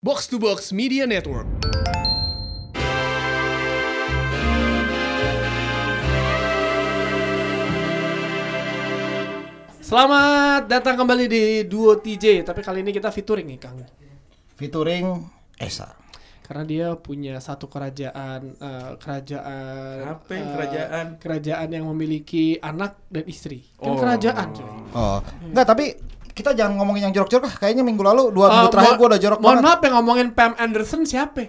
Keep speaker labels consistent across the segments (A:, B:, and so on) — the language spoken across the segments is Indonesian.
A: Box to Box Media Network. Selamat datang kembali di Duo TJ, tapi kali ini kita featuring nih Kang.
B: featuring Esa.
A: Karena dia punya satu kerajaan eh, kerajaan
C: Apa yang
A: eh,
C: kerajaan?
A: kerajaan yang memiliki anak dan istri. Kan
C: Oh.
A: kerajaan, coy.
B: Oh, enggak tapi kita jangan ngomongin yang jorok-jorok. ah. Kayaknya minggu lalu dua minggu
A: Eh,
B: terakhir
A: mo-
B: gua udah jorok
A: Mohon
B: banget.
A: maaf yang ngomongin Pam Anderson siapa?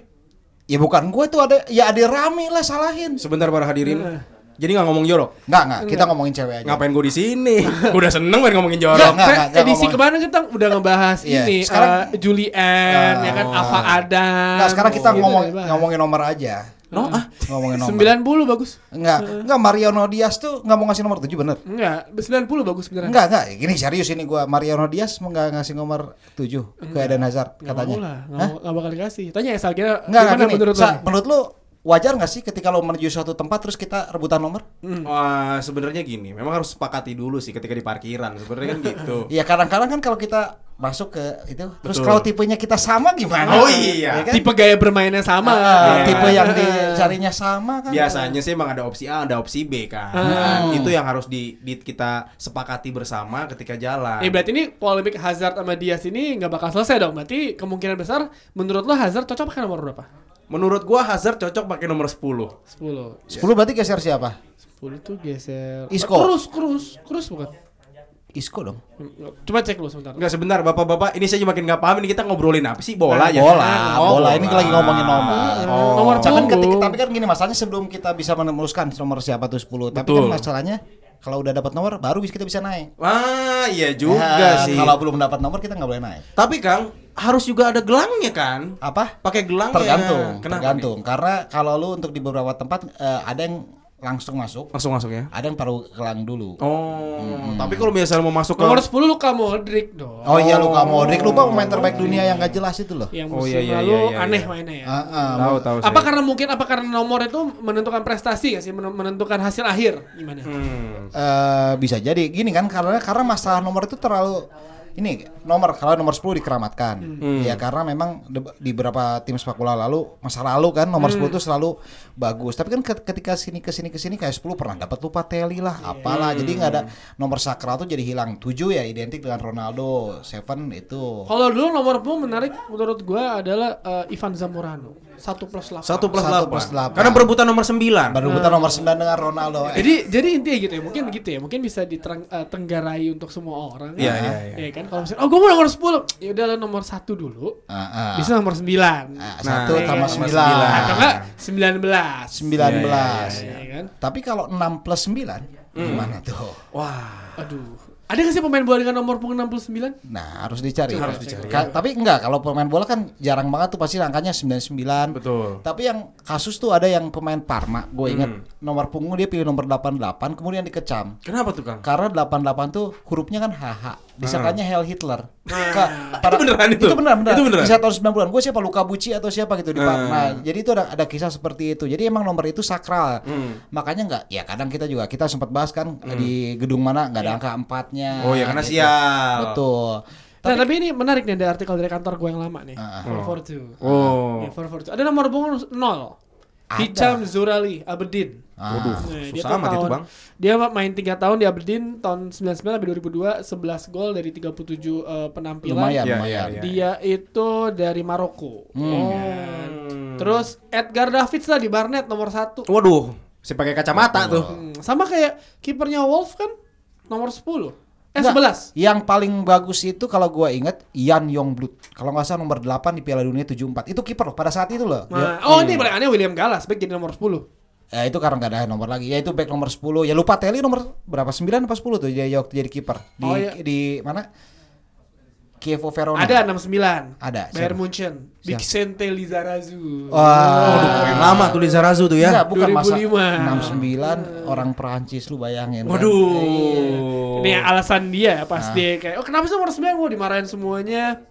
B: Ya bukan gue tuh ada ya ada Rami lah salahin.
C: Sebentar para hadirin.
A: Heeh.
C: Jadi nggak ngomong jorok.
B: Enggak enggak, kita ngomongin cewek aja.
C: Ngapain gue di sini? Gua Iya. udah seneng banget ngomongin
B: Enggak,
C: jorok.
B: enggak, enggak, enggak
A: edisi
B: ngomong.
A: kemarin kita udah ngebahas
B: Iya,
A: ini
B: sekarang-
A: eh, Julian ya kan Ava Adam.
B: Enggak, sekarang kita
A: Gitu
B: ngomong
A: ya, Bang.
B: ngomongin nomor aja.
C: No, ah.
B: Ngomongin nomor.
A: 90 bagus.
B: Enggak, enggak Mariano Diaz tuh enggak mau ngasih nomor 7 bener.
A: Enggak, 90 bagus beneran.
B: Enggak, enggak. Gini serius ini gua Mariano Diaz mau enggak ngasih nomor 7 ke Eden Hazard
A: Nggak mau
B: katanya.
A: lah, nggak mau- nggak bakal dikasih. Tanya ya Salgira,
B: Enggak, enggak
A: gimana
B: gini.
A: menurut
B: Menurut,
A: lo?
B: menurut lu wajar enggak sih ketika lo menuju suatu tempat terus kita rebutan nomor?
C: Hmm. Wah, sebenarnya gini, memang harus sepakati dulu sih ketika di parkiran. Sebenarnya kan gitu.
B: Iya kadang-kadang kan kalau kita masuk ke itu terus
C: Betul.
B: kalau tipenya kita sama gimana?
C: Oh,
B: Ya
C: iya.
B: kan?
A: Tipe gaya bermainnya sama.
B: Ah,
A: ya.
B: tipe yang
A: Ah,
B: dicarinya sama kan.
C: Biasanya sih emang ada opsi A, ada opsi B kan.
A: Hmm.
C: Itu yang harus di, di- kita sepakati bersama ketika jalan.
A: Eh berarti ini polemik Hazard sama Diaz ini nggak bakal selesai dong. Berarti kemungkinan besar menurut lo Hazard cocok pakai nomor berapa?
C: Menurut gua Hazard cocok pakai nomor 10.
A: 10.
B: 10 berarti geser siapa?
A: 10 tuh geser.
B: Isco.
A: Krus, Krus, Krus bukan.
B: Isco dong.
A: Coba cek lu sebentar.
C: Enggak sebentar, bapak-bapak. Ini saya makin nggak paham. Ini kita ngobrolin apa sih? Bola ya?
B: bola, Ah,
C: Oh,
B: bola. Ini lagi ngomongin nomor.
C: Oh.
A: Nomor
B: Jangan
A: punggung.
B: ketika tapi kan gini masalahnya sebelum kita bisa menemuskan nomor siapa tuh 10. Tapi kan
C: Betul.
B: masalahnya kalau udah dapat nomor baru kita bisa naik.
C: Wah, iya juga
B: Nah,
C: sih.
B: Kalau belum dapat nomor kita nggak boleh naik.
C: Tapi Kang, harus juga ada gelangnya kan?
B: Apa?
C: Pakai gelangnya.
B: Tergantung,
C: Kenapa
B: tergantung. Karena kalau lu untuk di beberapa tempat eh, ada yang langsung masuk,
C: nih? Langsung masuk ya.
B: ada yang paruh kelang dulu.
C: Oh, tapi kalau misalnya mau masuk ke
A: Nomor 10 Luka Modric dong.
B: Oh, iya luka Modric lupa pemain terbaik dunia yang gak jelas itu loh.
A: Yang
C: Oh,
A: musim
C: iya, iya,
A: lalu
C: iya, iya,
A: aneh
C: iya.
A: mainnya ya.
B: Ah, ah,
C: tahu tahu
A: apa
C: saya.
A: karena mungkin apa karena nomor itu menentukan prestasi gak sih Men- menentukan hasil akhir gimana?
C: Hmm.
B: eh, bisa jadi gini kan karena karena masalah nomor itu terlalu ini nomor kalau nomor 10 dikeramatkan.
C: Hmm.
B: Ya karena memang de- di beberapa tim sepak bola lalu masa lalu kan nomor
C: Hmm.
B: 10 itu selalu bagus. Tapi kan ket- ketika sini ke sini ke sini kayak 10 pernah dapat lupa Teli lah,
C: Iya.
B: apalah. Jadi nggak
C: Hmm.
B: ada nomor sakral tuh jadi hilang. 7 ya identik dengan Ronaldo, 7 itu.
A: Kalau dulu nomor pun menarik menurut gua adalah eh, Ivan Zamorano satu plus 8.
C: Satu plus
B: Satu
C: delapan.
B: plus delapan.
C: Karena berebutan nomor sembilan.
B: Berebutan nomor 9 dengan Ronaldo. Eh,
A: Jadi jadi intinya gitu ya mungkin gitu ya mungkin bisa ditenggarai untuk semua orang. ya.
C: Iya, iya, iya.
A: Ya kan kalau misalnya oh gua mau nomor 10 ya udah lah nomor 1 dulu.
B: ah, ah.
A: Bisa nomor 9.
B: Ah,
C: Nah,
B: satu
C: iya,
B: tambah
A: iya.
B: sembilan.
C: Sembilan.
A: Atau enggak 19.
B: Sembilan belas.
A: Ya,
C: iya.
A: kan?
B: Tapi kalau enam plus sembilan,
A: Hmm.
B: gimana tuh?
C: Wah.
A: Aduh. Ada gak sih pemain bola dengan nomor punggung 69?
B: Nah harus dicari.
A: Harus dicari.
B: Ka- tapi enggak kalau pemain bola kan jarang banget tuh pasti angkanya 99.
C: Betul.
B: Tapi yang kasus tuh ada yang pemain Parma, gue inget
A: Hmm.
B: nomor punggung dia pilih nomor 88 kemudian dikecam.
C: Kenapa tuh Kang?
B: Karena 88 tuh hurufnya kan HH. Disangkanya Hell Hitler. Ka-
C: Ah. Itu beneran itu?
B: Itu beneran, beneran.
C: Itu beneran? Ah.
B: Di saat tahun 90-an. Gue siapa Luka Buci atau siapa gitu di Pak. Nah, jadi itu ada ada kisah seperti itu. Jadi emang nomor itu sakral.
C: Hmm.
B: Makanya nggak ya kadang kita juga kita sempat bahas kan di gedung mana nggak ada angka empatnya.
C: Iya. Oh ya karena
B: gitu.
C: sial.
B: Betul.
A: Nah, tapi ini menarik nih ada artikel dari kantor gue yang lama nih. 442.
C: Ah, Oh.
A: Ya, 442. Ada nomor punggung 0. Hicam Zurali Aberdeen.
B: Ah.
C: Waduh,
A: Nah, dia
C: susah
A: tuh
C: amat itu
A: tahun-
C: Bang.
A: Dia main 3 tahun di Aberdeen tahun 99 sampai 2002, 11 gol dari 37 eh, penampilan.
B: Lumayan,
C: Iya,
B: lumayan.
C: iya,
A: Dia itu dari Maroko. Kan.
C: Hmm.
A: Terus Edgar Davids lah di Barnet nomor 1.
C: Waduh, si pakai kacamata tuh.
A: Sama kayak kipernya Wolf kan nomor 10. Eh
B: Nggak,
A: 11.
B: Yang paling bagus itu kalau gua inget Ian Yongblood. Kalau nggak salah nomor 8 di Piala Dunia 74. Itu kiper loh pada saat itu loh.
A: Nah, oh
B: iya.
A: ini paling aneh William Gallas back jadi nomor 10.
B: Ya itu karena nggak ada nomor lagi. Ya itu back nomor 10. Ya lupa Teli nomor berapa? 9 apa 10 tuh dia waktu jadi kiper. Di
A: Oh, iya.
B: di mana? Kievo Verona.
A: Ada 69. Bayern
B: Ada, siapa?
A: Munchen.
B: Siapa?
A: Vicente Lizarazu.
C: Waduh,
B: Wah.
C: pemain lama tuh Liza Razu tuh
B: Enggak,
C: ya.
B: bukan masa
A: 2005.
B: 69 orang Perancis lu bayangin. kan? iya.
C: Waduh.
A: Ini alasan dia ya,
B: Ah.
A: pas dia kayak oh kenapa sih nomor 9 gua dimarahin semuanya.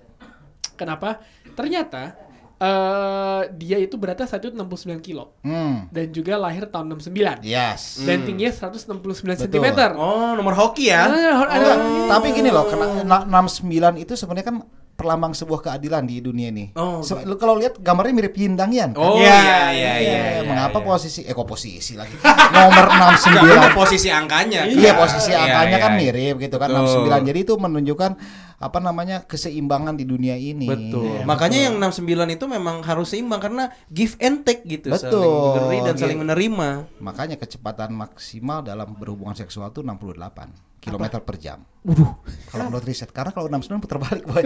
A: Kenapa? Ternyata eh dia itu beratnya 169 kilo
B: Hmm.
A: dan juga lahir tahun 69.
B: Yes.
A: Dan tingginya 169
B: Iya. Hmm. Betul. iya.
A: cm.
C: Oh, nomor hoki ya.
A: Ah, ada-
B: Hmm. Enggak, tapi gini loh, kena na- 69 itu sebenarnya kan perlambang sebuah keadilan di dunia ini.
C: Oh,
B: Se-
C: oke.
B: lu kalau lihat gambarnya mirip Yin Dang Yang. kan?
C: Oh
A: Iya,
C: iya iya
B: Iya,
C: iya. iya,
B: mengapa
C: iya.
B: posisi eh kok posisi lagi. Nomor
C: Enggak,
B: 69.
C: memang posisi angkanya. kan?
B: Iya posisi
C: Iya,
B: angkanya
C: iya,
B: kan
C: iya.
B: mirip gitu kan
C: Betul.
B: 69. Jadi itu menunjukkan apa namanya keseimbangan di dunia ini. Iya,
C: Betul. Makanya
B: betul.
C: yang 69 itu memang harus seimbang karena give and take gitu, saling
B: Betul.
C: memberi dan saling
B: Iya.
C: menerima.
B: makanya kecepatan maksimal dalam berhubungan seksual itu 68 km per jam. Kalau menurut riset karena kalau 69 putar balik boy.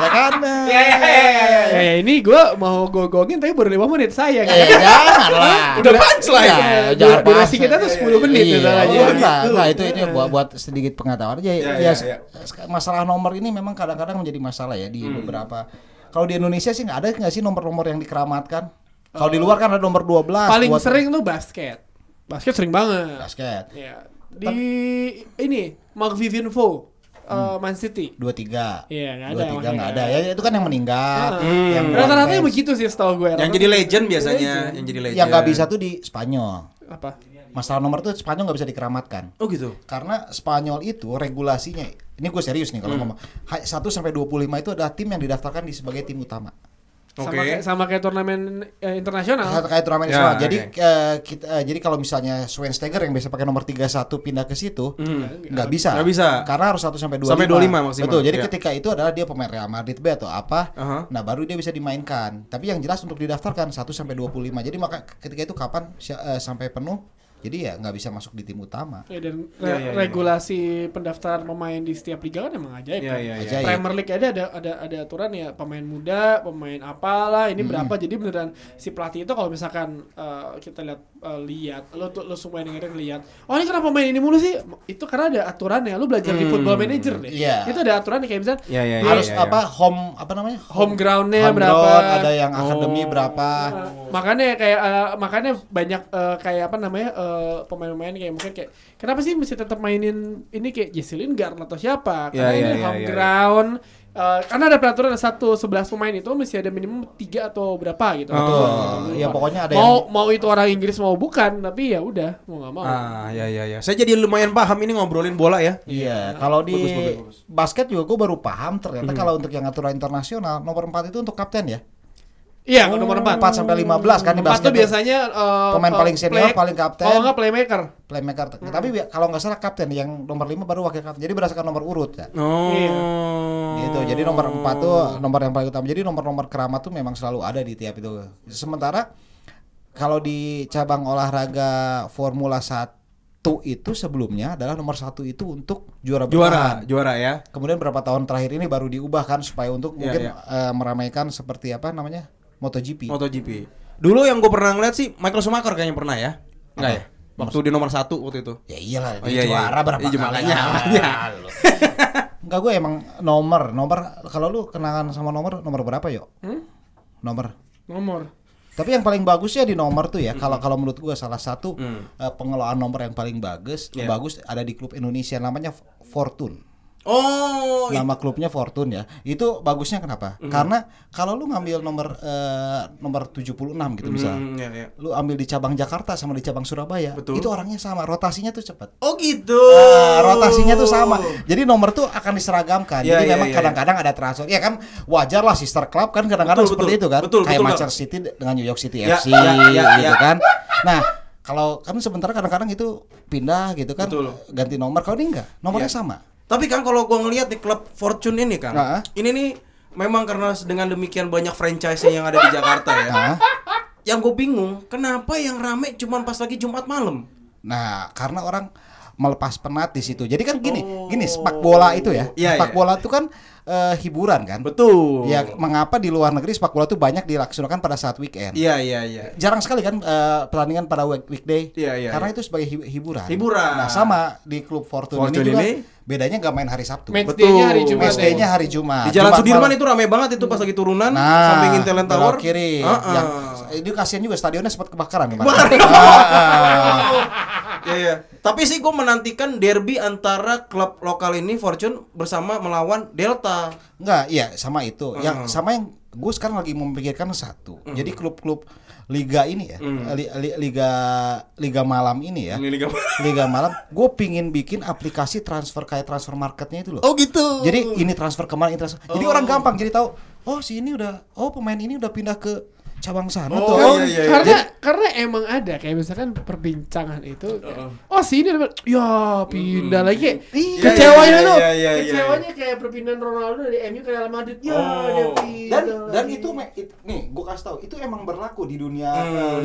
B: ya kan?
C: Iya iya iya. iya.
A: Ya, ya, ini gue mau gogongin tapi baru 5 menit saya. kan?
B: Eh, jangan lah.
C: Udah punchline.
B: Iya,
A: Ya,
B: jangan
A: du- durasi
B: punchline.
A: kita tuh 10 menit ya,
B: Iya,
A: misalnya.
B: iya,
C: gitu.
B: enggak, enggak, itu itu buat buat sedikit pengetahuan aja.
C: Iya,
B: ya,
C: iya,
B: se-
C: iya.
B: se- masalah nomor ini memang kadang-kadang menjadi masalah ya di
A: Hmm.
B: beberapa. Kalau di Indonesia sih nggak ada nggak sih nomor-nomor yang dikeramatkan. Kalau di luar kan ada nomor 12
A: Eh, Paling
B: buat
A: sering tuh basket. Basket sering banget.
B: basket.
A: Ya.
C: Iya.
A: Di ini Mark Vivinfo eh,
C: Hmm.
A: Man City.
B: 23.
A: Iya, nggak ada
B: Dua tiga
A: makanya.
B: nggak ada. Ya itu kan yang meninggal.
A: Heeh.
B: Yang
A: Rata-rata
B: yang
A: begitu sih setahu gue.
C: Hmm. Yang
A: Rata-rata
C: jadi legend biasanya, yang jadi legend.
B: yang nggak bisa tuh di Spanyol.
A: apa?
B: Masalah nomor tuh Spanyol nggak bisa dikeramatkan.
C: Oh gitu.
B: Karena Spanyol itu regulasinya ini gue serius nih kalau
C: Hmm.
B: ngomong 1 sampai 25 itu ada tim yang didaftarkan di sebagai tim utama.
A: Sama
C: Oke.
A: kayak sama kayak turnamen eh, internasional.
B: Kayak turnamen
C: Ya,
B: nasional. Jadi
C: oke.
B: eh, kita eh, jadi kalau misalnya Schweinsteiger yang biasa pakai nomor 31 pindah ke situ nggak bisa.
C: Hmm. Nggak bisa.
B: Karena harus 1 sampai 25.
C: Sampai 25 maksimal.
B: Betul. Jadi
C: Iya.
B: ketika itu adalah dia pemain Real Madrid B atau apa.
C: Aha.
B: Nah, baru dia bisa dimainkan. Tapi yang jelas untuk didaftarkan 1 sampai 25. Jadi maka ketika itu kapan si- eh, sampai penuh? Jadi ya nggak bisa masuk di tim utama.
A: Ya, dan re-
C: Ya, ya, ya.
A: regulasi pendaftaran pemain di setiap liga kan emang ajaib.
C: Iya
A: kan?
C: iya iya.
B: Ajaib.
A: Premier League ada ada ada ada aturan ya pemain muda, pemain apalah ini
B: Hmm.
A: berapa. Jadi beneran si pelatih itu kalau misalkan eh, kita lihat eh, lihat lo tuh lo semua yang dengerin lihat, oh ini kenapa main ini mulu sih? Itu karena ada aturannya. Lo belajar di
C: Hmm.
A: Football Manager deh.
B: Iya.
A: Itu ada aturannya kayak misalnya
C: Iya iya.
B: harus
C: iya, iya.
B: apa home apa namanya
A: Home ground-nya
B: home
A: berapa? Oh.
B: ground, ada yang akademi berapa
A: Uh, makanya kayak uh, makanya banyak uh, kayak apa namanya uh, pemain-pemain kayak mungkin kayak kenapa sih mesti tetap mainin ini kayak Jesse Lingard atau siapa karena
C: Ya, ya,
A: ini
C: ya,
A: home
C: ya, ya.
A: ground Uh, karena ada peraturan ada satu sebelas pemain itu mesti ada minimum tiga atau berapa gitu.
C: Oh,
A: Atau-
B: ya, pokoknya ada
A: mau mau itu orang Inggris mau bukan tapi ya udah mau nggak mau.
C: Ah iya iya iya. Saya jadi lumayan paham ini ngobrolin bola ya.
B: Iya, kalau di
C: Bagus, bagus, bagus.
B: basket juga gue baru
A: Hmm.
B: paham ternyata kalau untuk yang aturan internasional nomor 4 itu untuk kapten ya.
A: Iya nomor empat.
B: 4 sampai 15 kan di
A: Empat
B: basket.
A: tuh biasanya uh,
B: Pemain
A: uh,
B: paling senior,
A: play-
B: paling kapten.
A: Kalau nggak playmaker.
B: playmaker.
A: Hmm.
B: Tapi bi- kalau nggak salah kapten yang nomor 5 baru wakil kapten. Jadi berdasarkan nomor urut ya.
C: Oh.
A: Iya.
B: Gitu. Jadi nomor 4 tuh nomor yang paling utama. Jadi nomor-nomor keramat tuh memang selalu ada di tiap itu. Sementara kalau di cabang olahraga Formula 1 itu sebelumnya adalah nomor satu itu untuk juara bertahan.
C: juara juara ya.
B: Kemudian berapa tahun terakhir ini baru diubahkan supaya untuk
C: Iya,
B: mungkin
C: iya.
B: eh, meramaikan seperti apa namanya MotoGP.
C: MotoGP. Dulu yang gue pernah ngeliat sih Michael Schumacher kayaknya pernah ya. Enggak ya? Waktu di nomor satu waktu itu.
B: ya iyalah,
C: Oh,
B: dia
C: iya, iya.
B: juara berapa
C: Iya,
B: kali?
C: makanya,
B: Ah,
C: makanya.
B: lu. Enggak gue emang nomor, nomor kalau lu kenangan sama nomor nomor berapa yuk?
A: Hmm?
B: Nomor.
A: Nomor.
B: Tapi yang paling bagusnya di nomor tuh ya kalau kalau menurut gue salah satu
C: Hmm.
B: eh, pengelolaan nomor yang paling bagus
C: Iya.
B: bagus ada di klub Indonesia namanya F- Fortune.
C: Oh, i-
B: nama klubnya Fortune ya. Itu bagusnya kenapa? Karena kalau lu ngambil nomor eh, nomor 76 gitu misalnya.
C: Hmm, iya, iya.
B: Lu ambil di cabang Jakarta sama di cabang Surabaya,
C: Betul.
B: itu orangnya sama, rotasinya tuh cepat.
C: Oh gitu.
B: Ah, rotasinya tuh sama. Jadi nomor tuh akan diseragamkan.
C: Oh. Iya,
B: Jadi
C: iya,
B: memang
C: iya,
B: kadang-kadang ada transfer. Ya kan wajar lah sister club kan kadang-kadang
C: Betul,
B: seperti
C: betul.
B: itu kan.
C: Betul,
B: Kayak
C: betul,
B: Manchester City dengan New York City
C: Ya,
B: FC
C: ya, ya,
B: gitu
C: ya.
B: kan. Nah, kalau kan sebentar kadang-kadang itu pindah gitu kan
C: Betul.
B: ganti nomor kalau ini enggak nomornya
C: Iya.
B: sama
C: Tapi kan kalau gua ngelihat di klub Fortune ini kan,
B: Ah.
C: ini nih memang karena dengan demikian banyak franchise yang ada di Jakarta ya.
B: nah
C: Yang gue bingung, kenapa yang rame cuman pas lagi Jumat malam?
B: Nah, karena orang melepas penat di situ. Jadi kan gini, gini sepak bola itu ya.
C: Oh. Iya,
B: sepak
C: iya.
B: bola itu kan eh, hiburan kan.
C: Betul.
B: Ya, mengapa di luar negeri sepak bola itu banyak dilaksanakan pada saat weekend?
C: Iya, iya, iya.
B: Jarang sekali kan eh, pertandingan pada week- weekday.
C: Iya, iya,
B: karena
C: iya.
B: itu sebagai hi- hiburan.
C: Hiburan.
B: Nah, sama di klub Fortune,
C: Fortune
B: ini juga
C: ini?
B: bedanya nggak main hari Sabtu.
A: Match
C: Betul.
A: day-nya hari Jumat.
B: Match
A: ya.
B: day-nya hari Jumat.
C: Di Jalan
B: Nah, Jumat
C: Sudirman
B: malam.
C: itu rame banget itu pas lagi turunan
B: Nah,
C: samping Intelent
B: belok
C: Tower.
B: kiri.
C: Ah, ah.
B: Yang, itu kasihan juga stadionnya sempat kebakaran Ah, kemarin.
C: Iya, iya. Tapi sih gue menantikan derby antara klub lokal ini Fortune bersama melawan Delta. Ah,
B: Enggak, iya sama itu. Yang sama yang gue sekarang lagi memikirkan satu. Jadi klub-klub liga ini ya,
C: Mm.
B: li- li- liga liga malam ini ya,
C: Ini liga-
B: liga malam, gue pingin bikin aplikasi transfer kayak transfer marketnya itu loh.
C: Oh gitu.
B: Jadi ini transfer kemarin, ini transfer. Jadi orang gampang jadi tahu. Oh si ini udah, oh pemain ini udah pindah ke cabang sana
C: Oh,
B: tuh.
C: iya, iya, iya.
A: Kan karena karena emang ada kayak misalkan perbincangan itu kayak, oh sini ada- ya pindah lagi kayak,
B: Iya,
A: kecewanya
C: iya,
A: tuh
C: iya, iya, iya,
A: kecewanya kayak perpindahan Ronaldo dari MU ke Real Madrid ya
C: Oh.
A: dia pindah
B: dan dan
A: lagi.
B: itu me- it- nih gue kasih tahu itu emang berlaku di dunia
C: Hmm.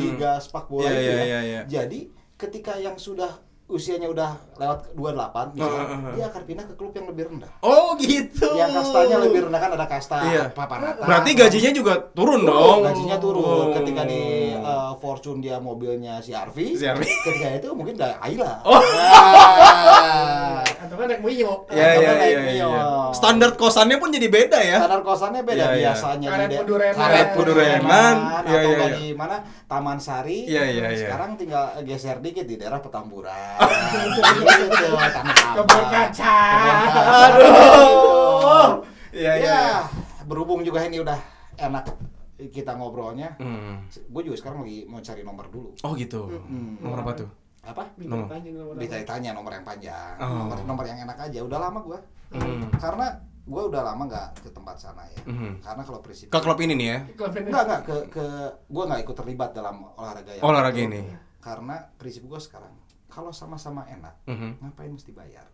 B: eh, liga sepak bola
C: Iya,
B: itu ya.
C: iya, iya, iya.
B: Jadi ketika yang sudah usianya udah lewat 28 misalnya,
C: Ah, ah, ah.
B: dia akan pindah ke klub yang lebih rendah.
C: Oh gitu.
B: Yang kastanya lebih rendah kan ada kasta
C: Iya.
B: papan atas.
C: Berarti gajinya juga turun dong.
B: gajinya turun
C: Oh.
B: ketika di eh, Fortune dia mobilnya si Arvi.
C: Si Arvi.
B: Ketika itu mungkin dari Ayla.
C: Oh.
B: Nah,
A: atau kan naik Mio
C: Iya iya
B: Tambah
C: iya
B: naik
C: iya.
B: Mio.
C: Standar kosannya pun jadi beda ya.
B: Standar kosannya beda
C: Iya, iya.
B: biasanya
A: Karet
B: di de-
A: Pudurenan.
B: Karet Pudurenan,
C: Pudurenan. Iya,
B: atau
C: iya,
B: nggak
C: iya.
B: di mana Taman Sari.
C: Iya, iya, iya.
B: Sekarang tinggal geser dikit di daerah Petamburan. gitu, Tanah Abang.
A: Kebun kaca.
B: Kebun kaca.
C: Aduh.
B: Ya,
C: Iya iya. iya.
B: berhubung juga ini udah enak kita ngobrolnya.
C: Hmm.
B: Gue juga sekarang lagi mau cari nomor dulu.
C: Oh gitu. Nomor apa tuh?
B: Apa?
A: Minta
C: Nomor.
A: tanya nomor
B: Bisa ditanya nomor yang panjang,
C: Oh.
B: nomor nomor yang enak aja. Udah lama gua.
C: Hmm.
B: Karena gua udah lama nggak ke tempat sana ya.
C: Mhm.
B: Karena kalau prinsip
C: Ke klub ini nih ya.
A: apa. Kelebihan-
B: Enggak, enggak ke ke gua nggak ikut terlibat dalam olahraga yang
C: Olahraga
B: itu.
C: ini.
B: Karena
C: Hmm.
B: prinsip gua sekarang kalau sama-sama enak,
C: Mhm.
B: ngapain mesti bayar?